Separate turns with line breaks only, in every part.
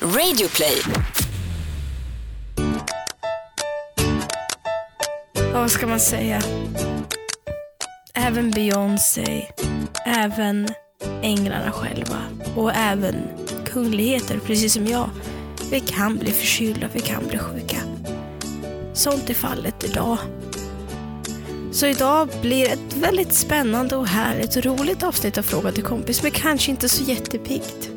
Radioplay.
Ja, vad ska man säga? Även Beyoncé, även änglarna själva och även kungligheter, precis som jag. Vi kan bli förkylda, vi kan bli sjuka. Sånt är fallet idag. Så idag blir ett väldigt spännande och härligt och roligt avsnitt av Fråga till kompis, men kanske inte så jättepiggt.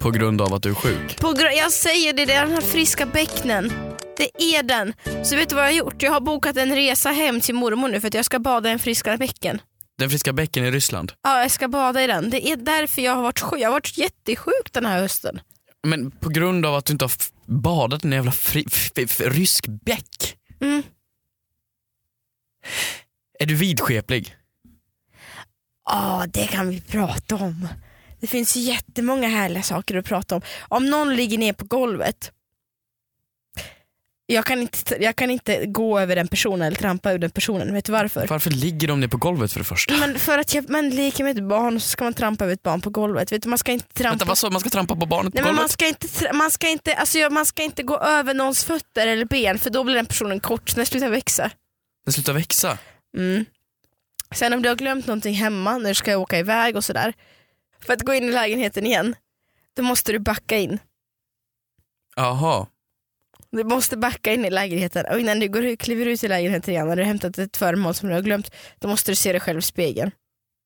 På grund av att du är sjuk?
På gr- jag säger det, det är den här friska bäcknen. Det är den. Så vet du vad jag har gjort? Jag har bokat en resa hem till mormor nu för att jag ska bada i den friska bäcken.
Den friska bäcken i Ryssland?
Ja, jag ska bada i den. Det är därför jag har varit sjuk. Jag har varit jättesjuk den här hösten.
Men på grund av att du inte har f- badat i en jävla fri, f- f- rysk bäck?
Mm.
Är du vidskeplig?
Ja, det kan vi prata om. Det finns jättemånga härliga saker att prata om. Om någon ligger ner på golvet. Jag kan inte, jag kan inte gå över den personen eller trampa ur den personen. Vet du varför?
Varför ligger de ner på golvet för det första?
Men för att jag, man leker med ett barn så ska man trampa över ett barn på golvet. Vet du, man ska inte trampa...
Vänta vad sa du? man ska trampa på barnet på
Nej, men
golvet?
man, ska inte, tra- man, ska inte, alltså, jag- man ska inte gå över någons fötter eller ben för då blir den personen kort, så den slutar växa.
Den slutar växa.
Mm. Sen om du har glömt någonting hemma när du ska åka iväg och sådär. För att gå in i lägenheten igen, då måste du backa in.
Jaha.
Du måste backa in i lägenheten och innan du går, kliver ut i lägenheten igen när du har hämtat ett föremål som du har glömt, då måste du se dig själv i spegeln.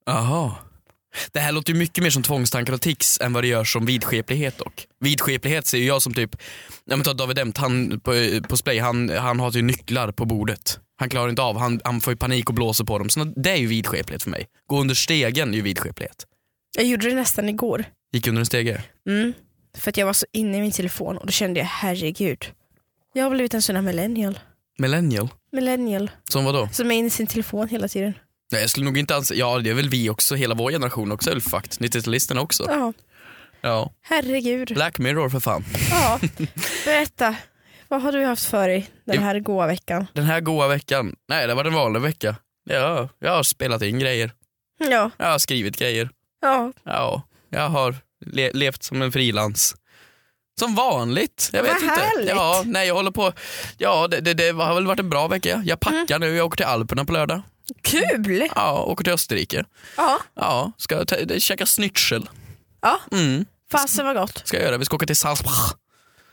Aha. Det här låter ju mycket mer som tvångstankar och tics än vad det gör som vidskeplighet dock. Vidskeplighet ser ju jag som typ, ja men ta David Emt, han på, på Splay, han, han har ju nycklar på bordet. Han klarar inte av, han, han får ju panik och blåser på dem. Så det är ju vidskeplighet för mig. Gå under stegen är ju vidskeplighet.
Jag gjorde det nästan igår.
Gick under en stege?
Mm. För att jag var så inne i min telefon och då kände jag herregud. Jag har blivit en sån här millennial.
Millennial?
Millennial.
Som vadå?
Som är inne i sin telefon hela tiden.
Nej jag skulle nog inte alls, ja det är väl vi också, hela vår generation också är väl fakt. 90-talisterna också.
Ja,
Ja.
herregud.
Black Mirror för fan.
Ja. Berätta, vad har du haft för dig den
Jo.
här goa veckan?
Den här goa veckan, nej det var en vanlig vecka. Ja, jag har spelat in grejer,
Ja,
jag har skrivit grejer.
ja.
Ja, jag har le- levt som en frilans. Som vanligt. Jag vet
Vad
inte.
härligt.
Ja, nej, jag håller på. Ja, det, det, det har väl varit en bra vecka. Jag packar
Mm.
nu. Jag åker till Alperna på lördag.
Kul!
Ja, åker till Österrike.
Ja,
Ja, ska ta, det- käka schnitzel.
ja.
Mm,
fasen var gott.
ska jag göra. Vi ska åka till Salzburg.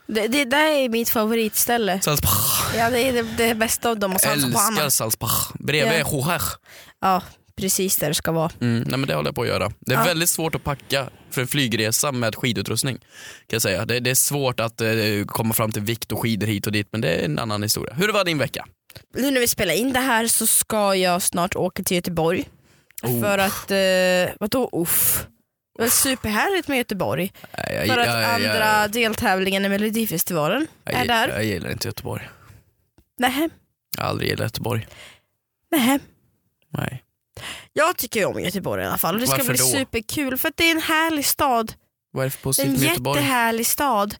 Det, det där är mitt favoritställe.
Salzburg.
Ja, det är det, det bästa av dem. Och
Jag
sen så på
älskar
Hammar.
Salzburg. Bredvid
Ja.
Hoher.
Ja, precis där det ska vara.
Mm, nej men det håller jag på att göra. Det är
Ja.
väldigt svårt att packa för en flygresa med skidutrustning. Kan jag säga. Det, det är svårt att eh, komma fram till vikt och skidor hit och dit men det är en annan historia. Hur var din vecka?
Nu när vi spelar in det här så ska jag snart åka till Göteborg.
Oh.
För att, eh, vadå uff? Det var superhärligt med Göteborg.
Nej, jag,
För att
jag,
andra
jag,
deltävlingen i Melodifestivalen
jag,
är där.
Jag, gillar inte Göteborg.
Nähä,
Jag har aldrig gillat Göteborg.
nähä.
Nej.
Jag tycker ju om Göteborg i alla fall och det ska
Varför
bli
då?
superkul för att det är en härlig stad.
Vad är det för
Det är en
positivt med Göteborg?
jättehärlig stad.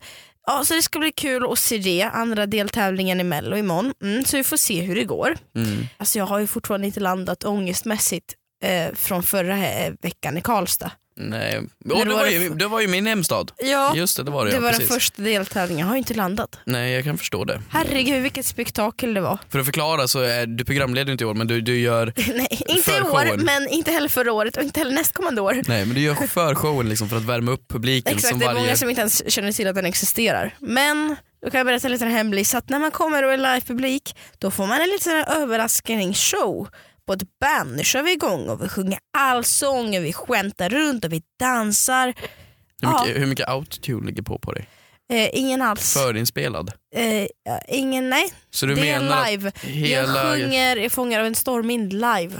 Ja, så det ska bli kul att se det, andra deltävlingen i mello imorgon. Mm, så vi får se hur det går.
Mm.
Alltså jag har ju fortfarande inte landat ångestmässigt eh, från förra eh, veckan i Karlstad.
Nej. Oh,
det
det,
var
var
det
ju,
f-
det var ju min hemstad.
Ja,
Just det, det var det.
det
ja,
var den
precis.
första deltävlingen, jag har ju inte landat.
Nej, jag kan förstå det.
Herregud vilket spektakel det var.
För att förklara så är du programledare inte i år men du, du gör
Nej, inte i
För
år,
showen.
men inte heller förra året och inte heller nästkommande år.
Nej men du gör förshowen liksom för att värma upp publiken
Exakt,
som
det är
varje...
många som inte ens känner till att den existerar. Men då kan jag berätta en liten hemlis att när man kommer och är livepublik då får man en liten sån här överraskningsshow på ett band. Nu kör vi igång och vi sjunger allsång och vi skämtar runt och vi dansar.
Hur mycket, hur mycket autotune ligger på på dig?
Eh, ingen alls.
Förinspelad.
Eh, ja, ingen, nej.
Så du
det är
menar
live.
att hela...
Jag sjunger i Fångar av en stormvind live.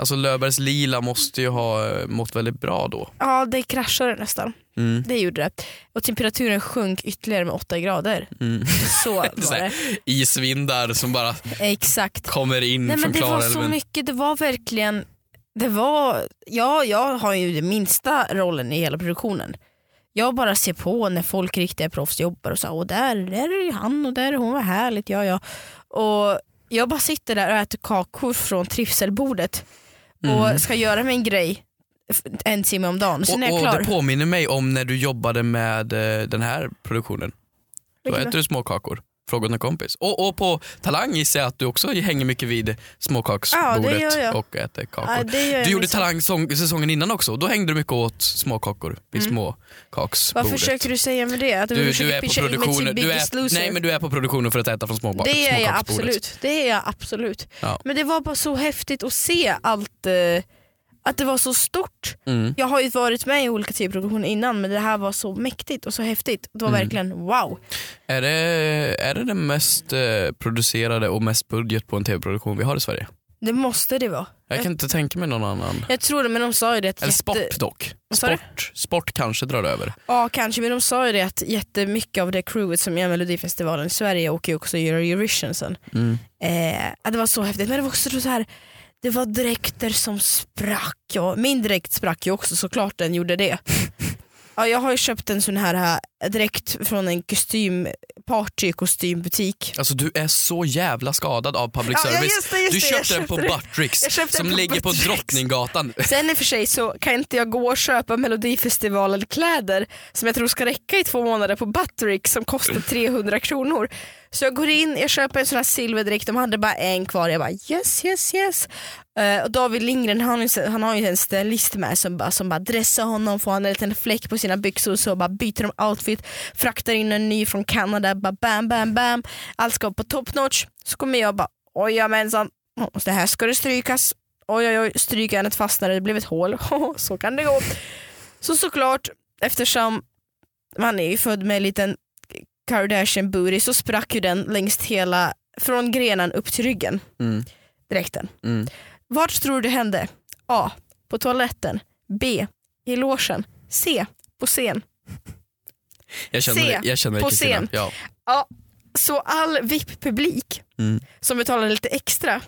Alltså Löfbergs Lila måste ju ha eh, mått väldigt bra då.
Ja, det kraschade nästan.
Mm.
Det gjorde det. Och temperaturen sjönk ytterligare med åtta grader.
Mm.
Så var
Så här.
det.
Isvindar som bara
Exakt.
kommer in
Nej men
från
det
klara
var så
elven.
mycket, det var verkligen, det var, ja jag har ju den minsta rollen i hela produktionen. Jag bara ser på när folk riktiga proffs jobbar och så, och där, där är ju han och där är hon, vad härligt, ja ja. Och jag
Mm.
bara sitter där och äter kakor från trivselbordet och ska göra min grej f- en timme om dagen. Sen är
Och,
jag
och
klar.
det påminner mig om när du jobbade med eh, den här produktionen. Då
Vilken
äter du småkakor. Fråga åt en kompis. Och, och på Talang gissar jag att du också hänger mycket vid
Ja, det
småkaksbordet
gör jag.
och äter kakor.
Ja, det gör jag liksom.
Du gjorde
minsann.
Talang sång- säsongen innan också, då hängde du mycket åt småkakor vid
Vad
småkaksbordet.
försöker du säga med det? Att
Du,
försöker
du, är på
pitcha in mig till
produktionen, du,
Biggest
är,
Loser?
nej, men du är på produktionen för att äta från småbak-
det är jag
småkaksbordet.
absolut. Det är jag absolut.
Ja.
Men det var bara så häftigt att se allt, eh, att det var så stort.
Mm.
Jag har ju varit med i olika typer av produktioner innan men det här var så mäktigt och så häftigt. Det var
Mm.
verkligen wow.
Är, det, är det den mest eh, producerade och mest budget på en tv-produktion vi har i Sverige?
Det måste det vara.
Jag kan inte tänka mig någon annan.
Jag tror det men de sa ju det att
Eller
jätte...
sport dock.
Vad sa du?
Sport, sport kanske drar över.
Ja kanske men de sa ju det att jättemycket av det crewet som gör Melodifestivalen i Sverige och ju också gör Eurovision sen.
Mm.
Eh, ja, det var så häftigt men det var också så här det var dräkter som sprack. Ja, min dräkt sprack ju också såklart den gjorde det. Ja, jag har ju köpt en sån här, här dräkt från en kostym, party kostymbutik.
Alltså du är så jävla skadad av public
Ja, ja,
service.
just det, just
du
det,
köpte
jag
den på
köpte det.
Buttricks
Jag köpte
som
den på
ligger
Buttricks.
på Drottninggatan.
Sen i och för sig så kan inte jag gå och köpa Melodifestivalen kläder som jag tror ska räcka i två månader på Butterick som kostar 300 kronor. Så jag går in, jag köper en sån här silverdräkt, de hade bara en kvar. Jag bara yes, yes, yes. Eh, och David Lindgren han, har ju- han har ju en stylist med som bara, som bara dressar honom, får han en liten fläck på sina byxor så bara byter de outfit, fraktar in en ny från Kanada, bara bam, bam, bam. Allt ska på top notch. Så kommer jag bara ojamensan, det mm, här ska det strykas oj oj oj, strykjärnet fastnade, det blev ett hål. så kan det gå. Så såklart, eftersom man är ju född med en liten Kardashian booty så sprack ju den längst hela, från grenen upp till ryggen,
Mm.
dräkten.
Mm.
Vart tror du det hände? A. På toaletten. B. I logen. C. På scen.
Jag känner,
Se,
dig- jag känner dig,
på
Kristina.
scen.
Ja.
Så all VIP-publik
Mm.
som betalade lite extra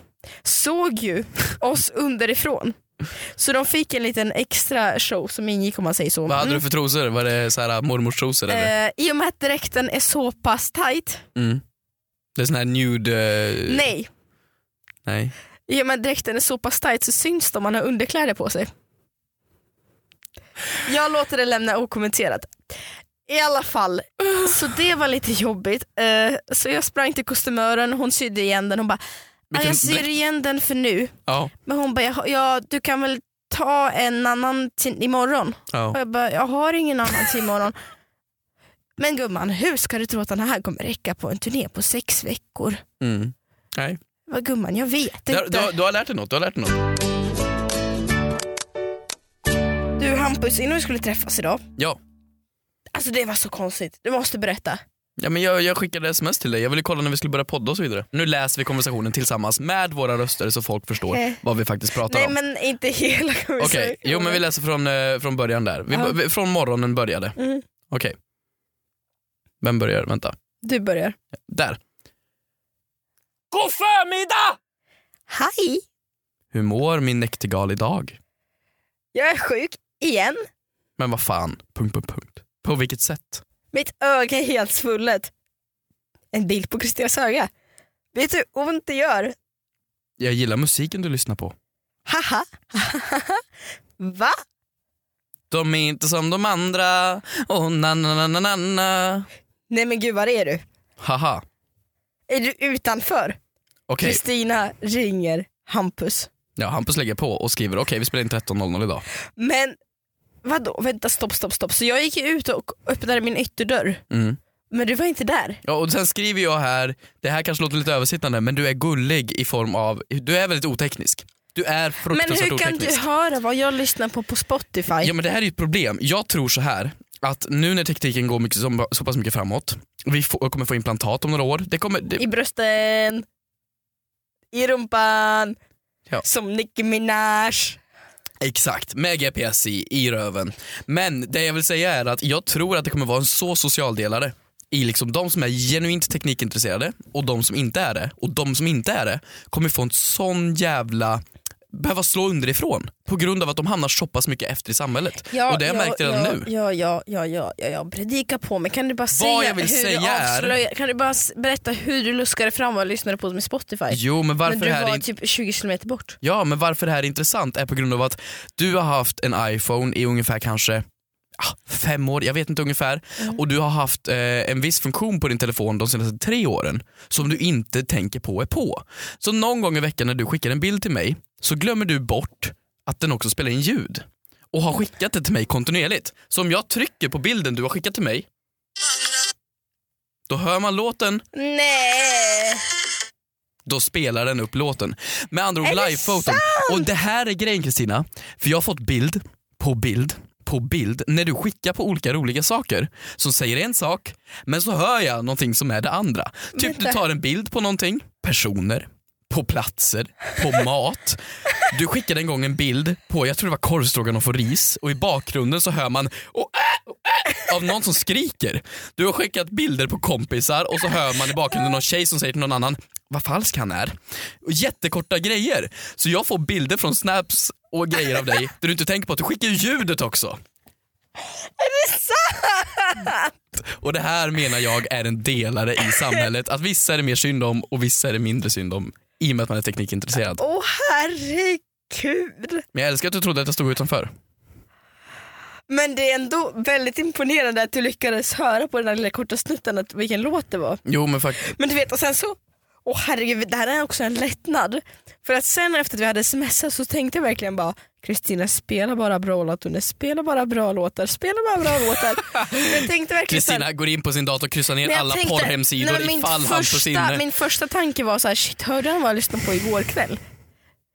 såg ju oss underifrån. Så de fick en liten extra show som ingick om man säger så.
Vad hade
Mm.
du för trosor? Var det så här mormors trosor eller?
Eh, I och med att dräkten är så pass tight,
Mm. Det är sån här nude... eh,
nej.
nej.
I och med att dräkten är så pass tight så syns det om man har underkläder på sig. Jag låter det lämna okommenterat. I alla fall, så det var lite jobbigt. Eh, så jag sprang till kostymören, hon sydde igen den, hon bara "Ah,
Vilken
“jag syr
dräkt?"
igen den för nu”.
Ja.
Men hon bara "Jaha, ja, “du kan väl ta en annan till imorgon?” Och
ja.
jag bara, jag har ingen annan till imorgon. Men gumman, hur ska du tro att den här kommer räcka på en turné på sex veckor?
Mm. Nej.
Vad gumman, jag vet
Du,
inte.
du, har- du har lärt dig något. Du har lärt dig något.
Du Hampus, innan vi skulle träffas idag.
Ja.
Alltså det var så konstigt, du måste berätta.
Ja, men jag, jag skickade sms till dig, jag ville kolla när vi skulle börja podda och så vidare. Nu läser vi konversationen tillsammans med våra röster så folk förstår
Eh.
vad vi faktiskt pratar
Nej
om.
men inte hela
Okej, jo men vi läser från, eh, från början där. Vi,
Ja.
vi, från morgonen började.
Mm.
Okej. Vem börjar? Vänta.
Du börjar.
Där. God förmiddag!
Hej,
Hur mår min näktergal idag?
jag är sjuk igen.
Men vad fan, punkt, punkt, punkt. På vilket sätt?
Mitt öga är helt svullet. En bild på Kristinas öga. Vet du hur ont det gör?
Jag gillar musiken du lyssnar på.
Haha. Va?
De är inte som de andra, oh na na na na na na.
Nej men gud, var är du?
Haha,
Är du utanför?
okej.
Kristina ringer Hampus.
Ja, Hampus lägger på och skriver okej vi spelar in 13.00 idag.
Men vadå, vänta stopp stopp stopp. Så jag gick ju ut och öppnade min ytterdörr.
Mm.
Men du var inte där.
Ja, och sen skriver jag här, det här kanske låter lite översittande men du är gullig i form av, du är väldigt oteknisk. Du är
Men
fruktansvärt
hur kan
oteknisk.
du höra vad jag lyssnar på på Spotify?
Ja men det här är ju ett problem. Jag tror så här att nu när tekniken går mycket, så, så pass mycket framåt, vi får, kommer få implantat om några år. Det kommer, det,
I brösten, i rumpan,
Ja.
som Nicki Minaj.
Exakt, med GPS i, i röven. Men det jag vill säga är att jag tror att det kommer vara en så socialdelare i liksom de som är genuint teknikintresserade och de som inte är det. Och de som inte är det kommer få en sån jävla behöva slå underifrån på grund av att de hamnar så pass mycket efter i samhället. och det har jag märkt redan
ja,
nu.
Ja, ja, ja, ja, ja, ja, predika på mig. Kan du bara säga
jag vill
hur
säga
du
är-
avslöjar, kan du bara s- berätta hur du luskade fram och lyssnade på oss med Spotify?
Jo men varför
men du
det här är
var
in-
typ 20 kilometer bort.
Ja, men varför det här är intressant är på grund av att du har haft en iPhone i ungefär kanske ah, fem år, jag vet inte ungefär. Och du har haft eh, en viss funktion på din telefon de senaste tre åren som du inte tänker på är på. Så någon gång i veckan när du skickar en bild till mig så glömmer du bort att den också spelar in ljud och har skickat det till mig kontinuerligt. Så om jag trycker på bilden du har skickat till mig då hör man låten,
Nej!
då spelar den upp låten. Med andra ord
Är det
livefoton. Och det här är grejen Kristina, för jag har fått bild på bild på bild när du skickar på olika roliga saker som säger en sak men så hör jag någonting som är det andra. Typ du
Vänta.
tar en bild på någonting, personer, på platser, på mat. Du skickade en gång en bild på, jag tror det var korvstroganoff och ris och i bakgrunden så hör man "Åh, äh, åh, äh", av någon som skriker. Du har skickat bilder på kompisar och så hör man i bakgrunden någon tjej som säger till någon annan vad falsk han är. Och Jättekorta grejer. Så jag får bilder från snaps och grejer av dig där du inte tänker på att du skickar ju ljudet också. Och det här menar jag är en delare i samhället. Att vissa är det mer synd om och vissa är det mindre synd om. I och med att man är teknikintresserad.
Åh herregud!
Men jag älskar att du trodde att jag stod utanför.
Men det är ändå väldigt imponerande att du lyckades höra på den där lilla korta snutten att vilken låt det var.
Jo men faktiskt.
Men du vet, och sen så, åh herregud, det här är också en lättnad. För att sen efter att vi hade smsat så tänkte jag verkligen bara Kristina spela bara bra låtar, spela bara bra låtar, spela bara bra låtar. jag tänkte verkligen så här-
Kristina går in på sin dator och kryssar ner
Nej, jag
alla
tänkte-
porrhemsidor
Nej, min
ifall han får
första-
sinne.
Min första tanke var så här, shit hörde han vad jag lyssnade på igår kväll?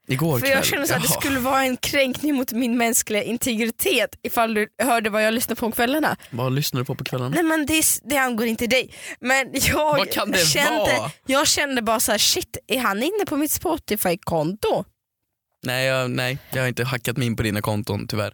Igår
För
kväll.
jag kände så att det
Jaha.
skulle vara en kränkning mot min mänskliga integritet ifall du hörde vad jag lyssnar på om kvällarna.
Vad lyssnar du på på kvällarna?
Nej men det, är- det angår inte dig. Men jag
Vad kan det
kände,
vara?
jag kände bara så här, shit är han inne på mitt Spotify-konto?
Nej jag, nej, jag har inte hackat mig in på dina konton tyvärr.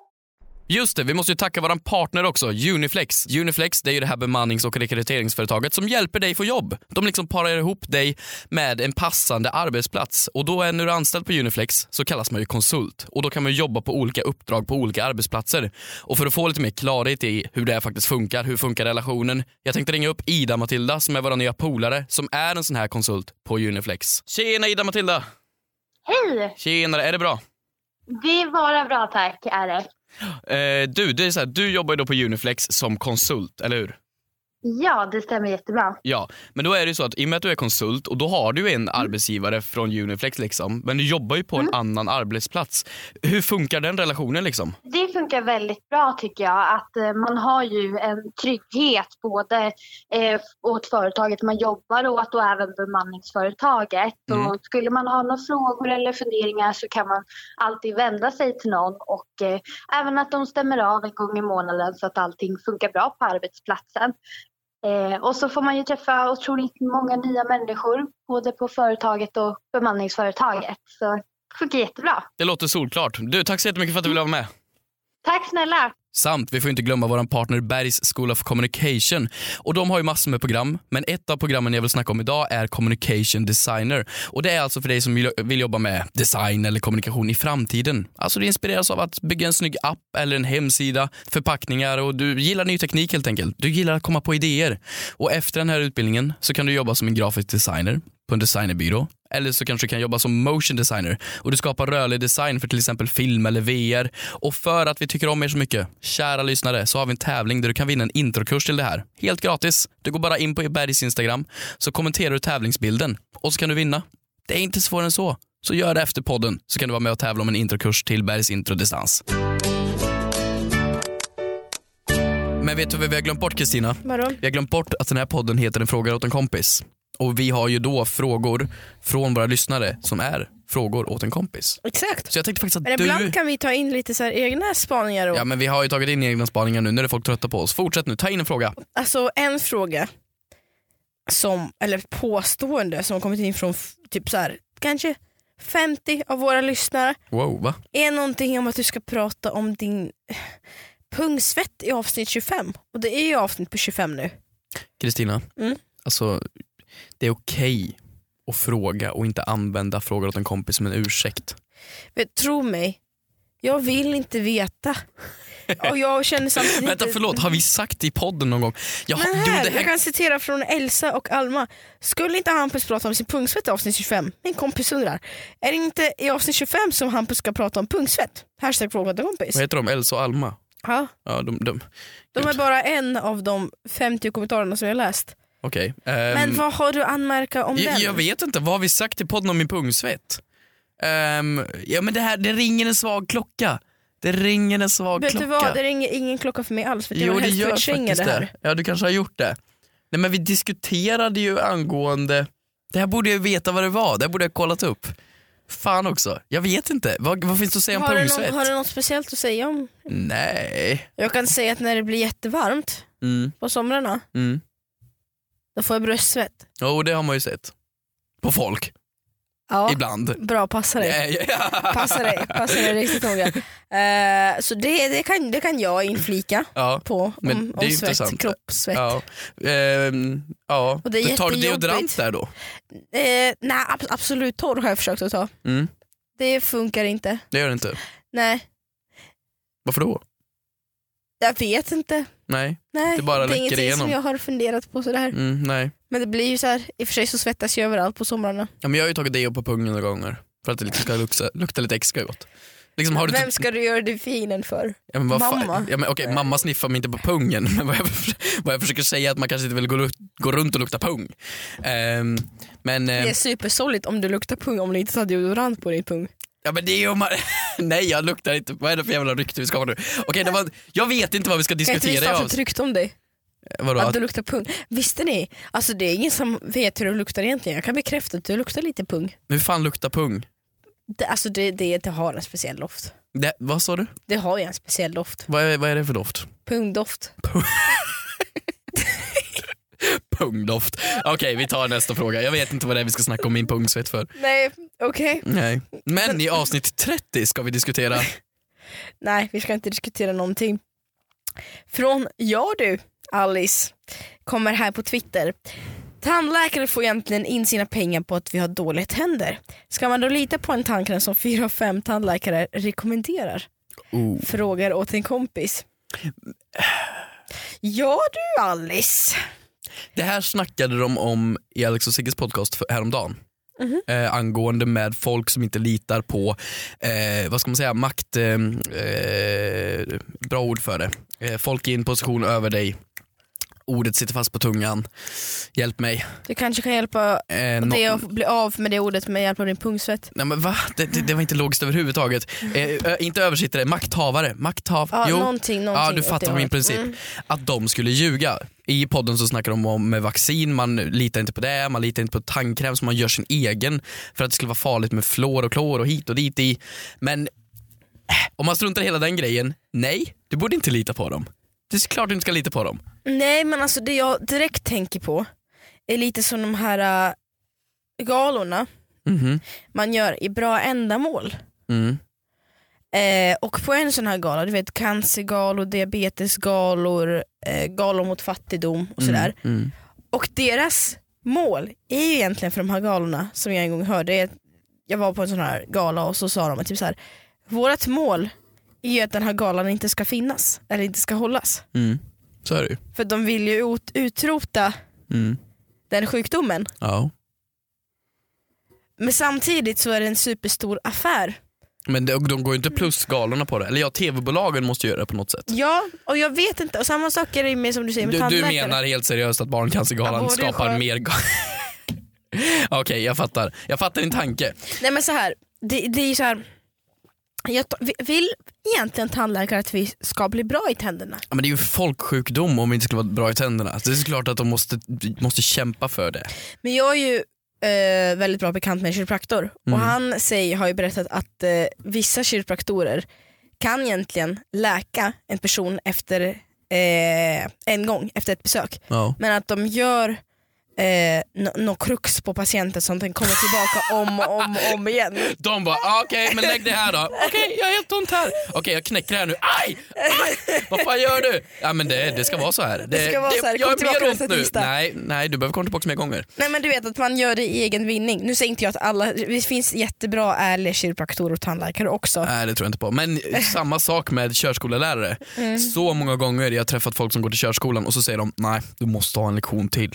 Just det, vi måste ju tacka våran partner också, Uniflex. Uniflex det är ju det här bemannings och rekryteringsföretaget som hjälper dig få jobb. De liksom parar ihop dig med en passande arbetsplats och då är när du är anställd på Uniflex så kallas man ju konsult och då kan man ju jobba på olika uppdrag på olika arbetsplatser. Och för att få lite mer klarhet i hur det här faktiskt funkar, hur funkar relationen? Jag tänkte ringa upp Ida-Matilda som är vår nya polare som är en sån här konsult på Uniflex. Tjena Ida-Matilda!
Hej!
Tjenare, är det bra?
Det är bara bra tack, är det.
Eh, du, det är så här, du jobbar ju då på Uniflex som konsult, eller hur?
Ja, det stämmer jättebra.
Ja, men då är det ju så att i och med att du är konsult och då har du ju en arbetsgivare från Uniflex liksom, men du jobbar ju på en annan arbetsplats. Hur funkar den relationen liksom?
Det funkar väldigt bra tycker jag att eh, man har ju en trygghet både eh, åt företaget man jobbar åt och även bemanningsföretaget.
Mm.
Och skulle man ha några frågor eller funderingar så kan man alltid vända sig till någon och eh, även att de stämmer av en gång i månaden så att allting funkar bra på arbetsplatsen. Eh, och så får man ju träffa otroligt många nya människor både på företaget och bemanningsföretaget. Så det funkar jättebra.
Det låter solklart. Du, tack så jättemycket för att du ville vara med.
Tack snälla!
Samt, vi får inte glömma vår partner Bergs School of Communication. Och de har ju massor med program, men ett av programmen jag vill snacka om idag är Communication Designer. Och det är alltså för dig som vill- vill jobba med design eller kommunikation i framtiden. Alltså du inspireras av att bygga en snygg app eller en hemsida, förpackningar och du gillar ny teknik helt enkelt. Du gillar att komma på idéer. Och efter den här utbildningen så kan du jobba som en grafisk designer på en designerbyrå. Eller så kanske du kan jobba som motion designer och du skapar rörlig design för till exempel film eller VR. Och för att vi tycker om er så mycket, kära lyssnare, så har vi en tävling där du kan vinna en introkurs till det här. Helt gratis. Du går bara in på Bergs Instagram så kommenterar du tävlingsbilden och så kan du vinna. Det är inte svårare än så. Så gör det efter podden så kan du vara med och tävla om en introkurs till Bergs introdistans. Men vet du vad vi har glömt bort Kristina?
Vadå?
Vi har glömt bort att den här podden heter En fråga åt en kompis. Och vi har ju då frågor från våra lyssnare som är frågor åt en kompis.
Exakt.
Så jag tänkte faktiskt att
Men
du...
ibland kan vi ta in lite så här egna spaningar. Och,
Ja men vi har ju tagit in egna spaningar nu, nu är det folk trötta på oss. Fortsätt nu, ta in en fråga.
Alltså en fråga. som, eller påstående som har kommit in från f- typ så här, kanske 50 av våra lyssnare
Wow, va?
är någonting om att du ska prata om din eh, pungsvett i avsnitt 25 och det är ju avsnitt på 25 nu.
Kristina,
Mm.
alltså det är okej att fråga och inte använda frågor åt en kompis som en ursäkt.
Vet, tro mig, jag vill inte veta. Och jag känner samtidigt...
Vänta förlåt, har vi sagt i podden någon gång? Jag, har-
Men här,
jo, det
Jag
här,
kan citera från Elsa och Alma. Skulle inte Hampus prata om sin pungsvett i avsnitt 25? Min kompis undrar. Är det inte i avsnitt 25 som Hampus ska prata om pungsvett? Hashtag fråga till kompis.
vad heter de? Elsa och Alma?
Ja,
Ja, de, de.
de är bara en av de 50 kommentarerna som jag läst.
Okej.
Men
ehm,
vad har du att anmärka om
jag,
den?
jag vet inte, vad har vi sagt i podden om min pungsvett? Ehm, ja men det här, det ringer en svag klocka. Det ringer en svag
vet
klocka.
du vad, det ringer ingen klocka för mig alls för att jag vill helst förtränga det här.
Ja du kanske har gjort det. Nej men vi diskuterade ju angående, det här borde jag veta vad det var, det här borde jag kollat upp. Fan också, jag vet inte. Vad, vad finns det att säga om
Har du, någon,
pungsvett?
har du något speciellt att säga om?
Nej.
Jag kan säga att när det blir jättevarmt
Mm,
på somrarna,
mm.
då får jag bröstsvett.
Jo det har man ju sett. På folk,
Ja,
ibland.
bra passar dig.
Nej,
Passa dig, passa dig riktigt noga. Eh, så det, det, kan, det kan jag inflika
Ja.
på om,
Men det är
om
ju
svett,
intressant.
kroppsvett.
Ja. Ehm, ja.
Och det är
Du tar du
jättejobbigt.
deodorant där då?
Eh, nej, ab- absolut torr har jag försökt att ta.
Mm.
Det funkar inte.
Det gör det inte.
Nej,
Varför då?
jag vet inte.
Nej.
Nej,
Det bara
är
läcker
ingenting
igenom.
som jag har funderat på sådär.
Mm, nej.
Men det blir ju så här, i och för sig så svettas jag överallt på somrarna.
Ja, men jag har ju tagit deo på pungen några gånger för att det liksom ska lukta, lukta lite extra gott. Liksom, har du
Vem
typ-
ska du göra delfinen för?
ja, men vad fan-
mamma?
Ja, men, okej, mamma sniffar mig inte på pungen men vad jag, vad jag försöker säga är att man kanske inte vill gå, lu- gå runt och lukta pung. Ehm, men, ehm,
Det är supersorgligt om du luktar pung om du inte tar deodorant på din pung.
ja, men det är ju om man... Nej jag luktar inte, vad är det för jävla rykte vi ska ha nu? Okej, det var... Jag vet inte vad vi ska
Kan inte vi
diskutera.
starta
Jag...
ett rykte om dig?
Vadå?
Att
Att-
du luktar pung. Visste ni? Alltså det är ingen som vet hur du luktar egentligen. Jag kan bekräfta att du luktar lite pung.
Hur fan luktar pung?
Det, alltså det, det, det har en speciell doft.
Det, vad sa du?
Det har ju en speciell doft.
Vad är, vad är det för doft?
Pungdoft.
Pungdoft. Okej vi tar nästa fråga. Jag vet inte vad det är vi ska snacka om min pungsvett för.
Nej, okej.
Nej. Men i avsnitt 30 ska vi diskutera
Nej, vi ska inte diskutera någonting. Från ja du, Alice, kommer här på Twitter. Tandläkare får egentligen in sina pengar på att vi har dåliga tänder. Ska man då lita på en tandkräm som fyra av fem tandläkare rekommenderar?
Oh.
Frågar åt en kompis. Ja du Alice.
Det här snackade de om i Alex och Sigges podcast för, häromdagen. Eh, angående med folk som inte litar på, eh, vad ska man säga, makt, eh, eh, bra ord för det. Eh, folk i en position över dig, ordet sitter fast på tungan, hjälp mig.
Du kanske kan hjälpa
Eh, nå-
det att bli av med det ordet med hjälp av din pungsvett.
Nej men va? Det, det, det var inte logiskt överhuvudtaget. Eh, ö, inte översittare, makthavare. Makthav...
Mm. Ja,
jo.
någonting, någonting
ja, du
åt
fattar
det
min
hållet.
princip.
Mm.
Att de skulle ljuga. I podden så snackar de om med vaccin, man litar inte på det, man litar inte på tandkräm så man gör sin egen för att det skulle vara farligt med fluor och klor och hit och dit i. Men eh, om man struntar i hela den grejen, nej, du borde inte lita på dem. Det är klart du inte ska lita på dem.
Nej men alltså det jag direkt tänker på är lite som de här äh, galorna
Mhm.
man gör i bra ändamål.
Mm.
Eh, och på en sån här gala, du vet cancergalor, diabetesgalor, eh, galor mot fattigdom och sådär.
Mm.
Och deras mål är ju egentligen för de här galorna som jag en gång hörde, är att jag var på en sån här gala och så sa de att typ så här, vårt mål är ju att den här galan inte ska finnas eller inte ska hållas.
Mm. Så är det ju.
För de vill ju ut- utrota
Mm.
den sjukdomen.
Ja.
Men samtidigt så är det en superstor affär.
Men de, de går ju inte plus galorna på det. Eller ja, tv-bolagen måste göra det på något sätt.
Ja, och jag vet inte, och samma sak är det med som du säger med
Du, du
tandläkare.
menar helt seriöst att Barncancergalan
Ja, både
skapar
skön-
mer ga- Okej, jag fattar. Jag fattar din tanke.
Nej men så här, det, det är ju så här. Jag t- vi- vill egentligen tandläkare att vi ska bli bra i tänderna?
Ja, Men det är ju en folksjukdom om vi inte skulle vara bra i tänderna. Så det är såklart att de måste, måste kämpa för det.
Men jag är ju eh, väldigt bra bekant med en kiropraktor och
Mm.
han säger, har ju berättat att eh, vissa kiropraktorer kan egentligen läka en person efter eh, en gång, efter ett besök.
Ja.
Men att de gör eh, nå- nå krux på patienten så att den kommer tillbaka om och om, och om igen.
De bara ah, okej men lägg det här då. Okej jag har helt ont här. Okej jag knäcker det här nu. Aj! Aj! Vad fan gör du? Ja men det, det ska vara så här. Det,
ska vara så här.
Jag
Kom
har
tillbaka
mer ont
nästa
nu.
tisdag.
Nej, nej du behöver komma tillbaka mer gånger.
Nej men du vet att man gör det i egen vinning. Nu säger inte jag att alla, det finns jättebra ärliga kiropraktorer och tandläkare också.
Nej det tror jag inte på. Men samma sak med körskolelärare. Så många gånger jag har träffat folk som går till körskolan och så säger de nej du måste ha en lektion till.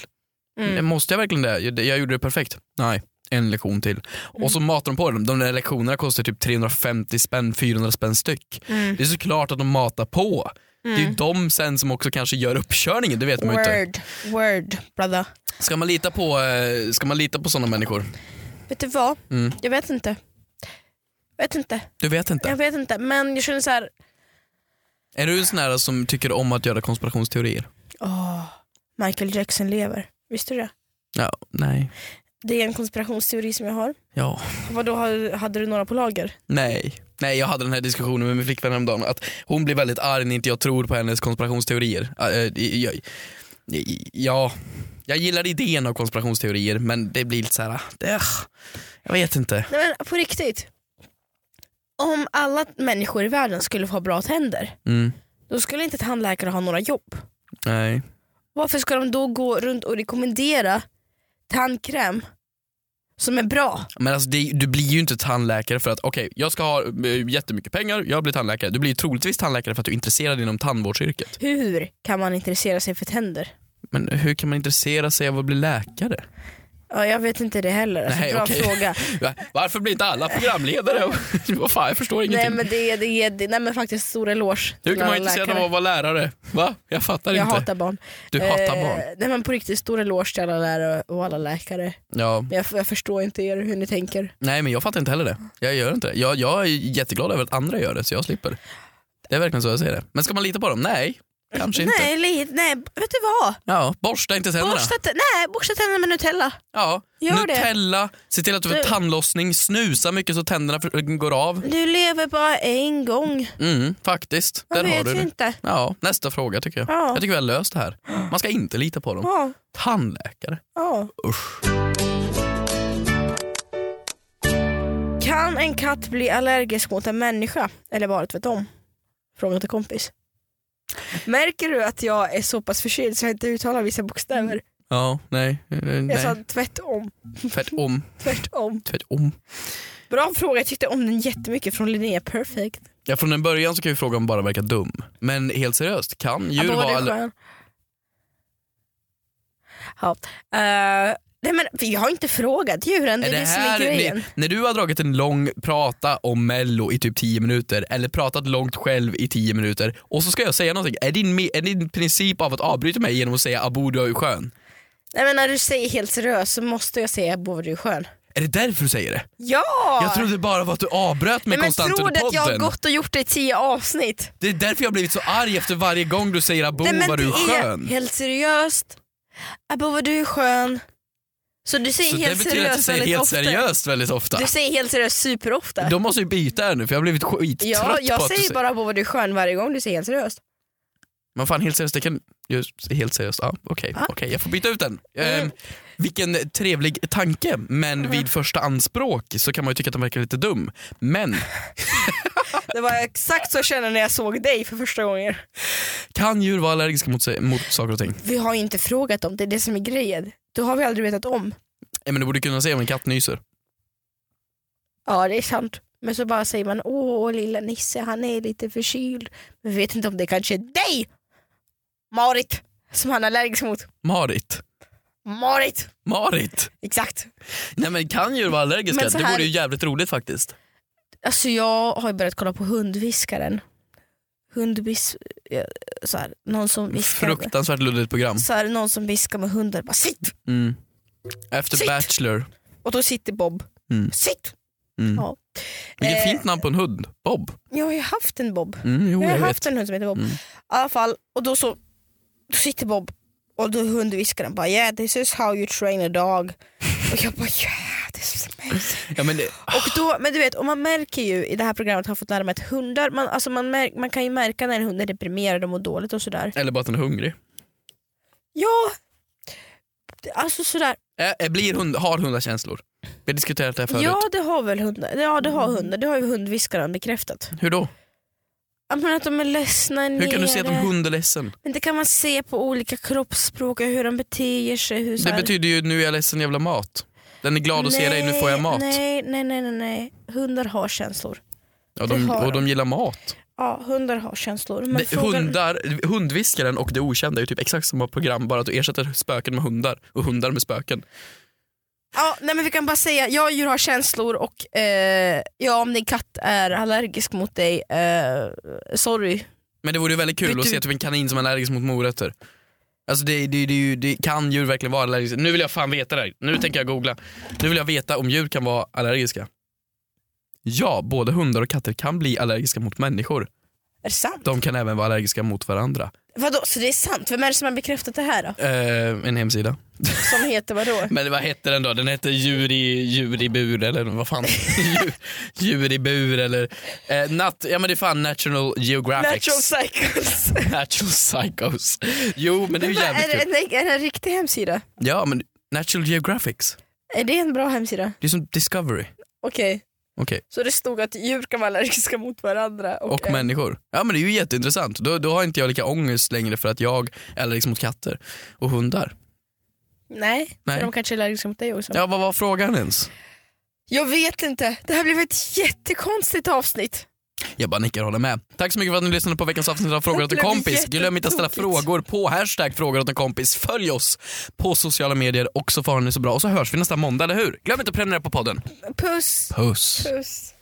"Men Måste jag verkligen det? Jag, jag gjorde det perfekt. Nej, en lektion till. Och så matar de på dem. De där lektionerna kostar typ 350 spänn, 400 spänn styck. Det är såklart att de matar på. Det är ju de sen som också kanske gör uppkörningen, det vet man ju inte.
Word, word brother.
Ska man lita på, eh, ska man lita på sådana människor?
Vet du vad?
Mm.
Jag vet inte. Vet inte.
Du vet inte.
Jag vet inte men jag känner så här.
Är du en sån här som tycker om att göra konspirationsteorier?
åh, Michael Jackson lever. Visste du det?
Ja, nej.
Det är en konspirationsteori som jag har.
Ja.
Vadå, har- hade du några på lager?
Nej. Nej, jag hade den här diskussionen med min flickvän häromdagen. Att hon blir väldigt arg när inte jag tror på hennes konspirationsteorier. Äh, äh, jag, jag, ja, jag gillar idén av konspirationsteorier men det blir lite så här. Det, äh, jag vet inte.
Nej men på riktigt. Om alla människor i världen skulle få ha bra tänder,
Mm,
då skulle inte tandläkare ha några jobb.
nej.
Varför ska de då gå runt och rekommendera tandkräm som är bra?
Men alltså, det, du blir ju inte tandläkare för att, okej jag ska ha eh, jättemycket pengar, jag blir tandläkare. Du blir ju troligtvis tandläkare för att du är intresserad inom tandvårdsyrket.
Hur kan man intressera sig för tänder?
Men hur kan man intressera sig av att bli läkare?
Ja, jag vet inte det heller. Alltså,
Nej,
bra
okej.
fråga.
Va- Varför blir inte alla programledare? Vad fan, jag förstår ingenting.
Nej men, det, är- det, är- det, nej men faktiskt stor eloge till
Hur kan
alla
man inte säga att
läkare.
man var lärare? Va? Jag fattar
Jag
inte.
hatar barn.
Du hatar
Eh,
barn.
Nej men på riktigt, stor eloge till alla lärare och alla läkare.
Ja.
Men jag, jag förstår inte er hur ni tänker.
Nej men jag fattar inte heller det. Jag gör inte det. Jag, jag är jätteglad över att andra gör det så jag slipper. Det är verkligen så jag säger det. Men ska man lita på dem? Nej, kanske inte.
Nej, li, nej, vet du vad?
Ja, borsta inte tänderna.
Borsta, t- nej, borsta tänderna med Nutella.
Ja.
Gör det.
Nutella, se till att du får
Du-
tandlossning, snusa mycket så tänderna för- går av.
Du lever bara en gång.
Mm, faktiskt.
Man
Där har
vet
du
ju
det.
inte.
Ja, nästa fråga tycker jag.
Ja.
Jag tycker vi har löst det här. Man ska inte lita på dem.
Ja,
Tandläkare.
ja.
Usch.
Kan en katt bli allergisk mot en människa? Eller bara tvärtom? Fråga till kompis. Märker du att jag är så pass förkyld så jag inte uttalar vissa bokstäver?
Ja, nej. eh,
Jag
nej.
sa tvärtom,
Tvärtom.
tvärtom.
Tvärtom.
Bra fråga, jag tyckte om den jättemycket från Linnea Perfect.
Ja, från en början så kan ju frågan bara verka dum. Men helt seriöst, kan djur
Ja, då var
vara...
det
aller-
skön. Ja. eh, nej men vi har inte frågat djuren, det är det, som är grejen.
ni, när du har dragit en lång prata om mello i typ 10 minuter eller pratat långt själv i 10 minuter och så ska jag säga någonting. Är din, me- är din princip av att avbryta mig genom att säga abo du är ju skön?
Nej men när du säger helt seriöst så måste jag säga Bova du är skön.
Är det därför du säger det?
Ja!
Jag trodde bara var att du avbröt
Nej,
mig
men
konstant
tror du
under
att jag har
podden.
gått och gjort det i tio avsnitt?
Det är därför jag har blivit så arg efter varje gång du säger abo
Nej, men
vad du är
det
skön.
helt seriöst. Abba vad du är skön. Så du säger
Så det
helt
betyder att du
seriöst
säger
väldigt
helt
ofta.
seriöst väldigt ofta.
Du säger helt seriöst superofta.
De måste ju byta här nu för jag har blivit skittrött
Ja,
på
jag
att du
säger
säger...
bara Abba vad du är skön varje gång du säger helt seriöst.
Men fan helt seriöst, det kan... Just, helt seriöst, ja, okej,
Ah.
okej, jag får byta ut den. Ehm,
Mm.
vilken trevlig tanke, men vid första anspråk så kan man ju tycka att den verkar lite dum. Men
Det var exakt så jag kände när jag såg dig för första gången.
kan djur vara allergiska mot, sig, mot saker och ting?
Vi har ju inte frågat om det, det är det som är grejen. Då har vi aldrig vetat om.
Eh, men du borde kunna se om en katt nyser.
Ja det är sant. Men så bara säger man åh lilla Nisse han är lite förkyld. Men vi vet inte om det kanske är dig Marit som han är allergisk mot.
Marit.
Marit!
Marit!
Exakt.
Nej men kan djur vara allergiska?
Men så
Det
här-
vore ju jävligt roligt faktiskt.
Alltså jag har ju börjat kolla på hundviskaren. Hundvis... eh, Så här, någon som viskar.
Fruktansvärt luddigt program.
Så här, någon som viskar med hundar bara sitt!
Mm. Efter
Shit.
Bachelor.
Och då sitter Bob.
Mm.
Sitt!
Mm.
Ja.
Vilket
Eh.
fint namn på en hund. Bob.
Jag har ju haft en Bob.
Mm, jo,
Jag har
jag vet.
haft en hund som heter Bob.
Mm.
I alla fall, och då så då sitter Bob och då hundviskar han bara yeah this is how you train a dog. Och jag bara yeah this is amazing.
Ja, men det...
Och då, men du vet, och man märker ju i det här programmet har jag fått lära mig att hundar, man, alltså man, mär, man kan ju märka när en hund är deprimerad och mår dåligt och sådär.
Eller bara att den är hungrig.
Ja, Alltså sådär.
Ä- Eh, blir hund, har hundar känslor? Vi har diskuterat det här förut.
Ja det har väl hundar, ja det har hundar, det har ju hundviskaren bekräftat.
Hur då?
Ja, Men att de är ledsna
Hur kan du se att en
nere.
hund är ledsen?
Men det kan man se på olika kroppsspråk och hur de beter sig. Hur så
Det
här-
betyder ju nu är jag ledsen jävla mat. Den är glad att se dig, nu får jag mat.
Nej, nej, nej, nej, nej. Hundar har känslor.
Ja,
det
de,
har
och de
de.
gillar mat.
Ja, hundar har känslor. Men
Det,
frågan-
hundar, hundviskaren och Det okända är ju typ exakt samma program bara att du ersätter spöken med hundar och hundar med spöken.
Ja, nej men vi kan bara säga, jag och djur har känslor och eh, ja, om din katt är allergisk mot dig, eh, sorry.
Men det vore ju väldigt kul
Vet
att
du-
se typ en kanin som är allergisk mot morötter. Alltså det, det, det, är ju- det kan djur verkligen vara allergiska. Nu vill jag fan veta det här. Nu tänker jag googla. Nu vill jag veta om djur kan vara allergiska. Ja, både hundar och katter kan bli allergiska mot människor.
Är det sant?
De kan även vara allergiska mot varandra.
Vadå, så det är sant? Vem är det som har bekräftat det här då?
Eh, en hemsida.
Som heter vadå?
Men vad hette den då? Den hette djur i, djur i bur eller vad fan? djur, djur i bur eller... Eh, nat, ja men det är fan National Geographic.
Natural Cycles.
Natural Psychos. Jo men det är ju
Va, är,
jävligt
det,
kul.
är, det, är det en riktig hemsida?
Ja men Natural Geographics.
Är det en bra hemsida?
Det är som Discovery.
Okej,
Okej,
så det stod att djur kan vara allergiska mot varandra. Och,
och
eh,
människor. Ja men det är ju jätteintressant. Då, då har inte jag lika ångest längre för att jag är allergisk mot katter och hundar.
Nej,
Nej.
För de kanske är allergiska mot dig också.
Ja vad var frågan ens?
Jag vet inte, det här blev ett jättekonstigt avsnitt.
Jag bara nickar och håller med. Tack så mycket för att ni lyssnade på veckans avsnitt av Frågor åt en
Det blev
kompis. Glöm inte att ställa
jättetokigt.
frågor på hashtag frågor åt en kompis. Följ oss på sociala medier och så får ni så bra. Och så hörs vi nästa måndag, eller hur? Glöm inte att prenumerera på podden.
Puss.
Puss.
Puss.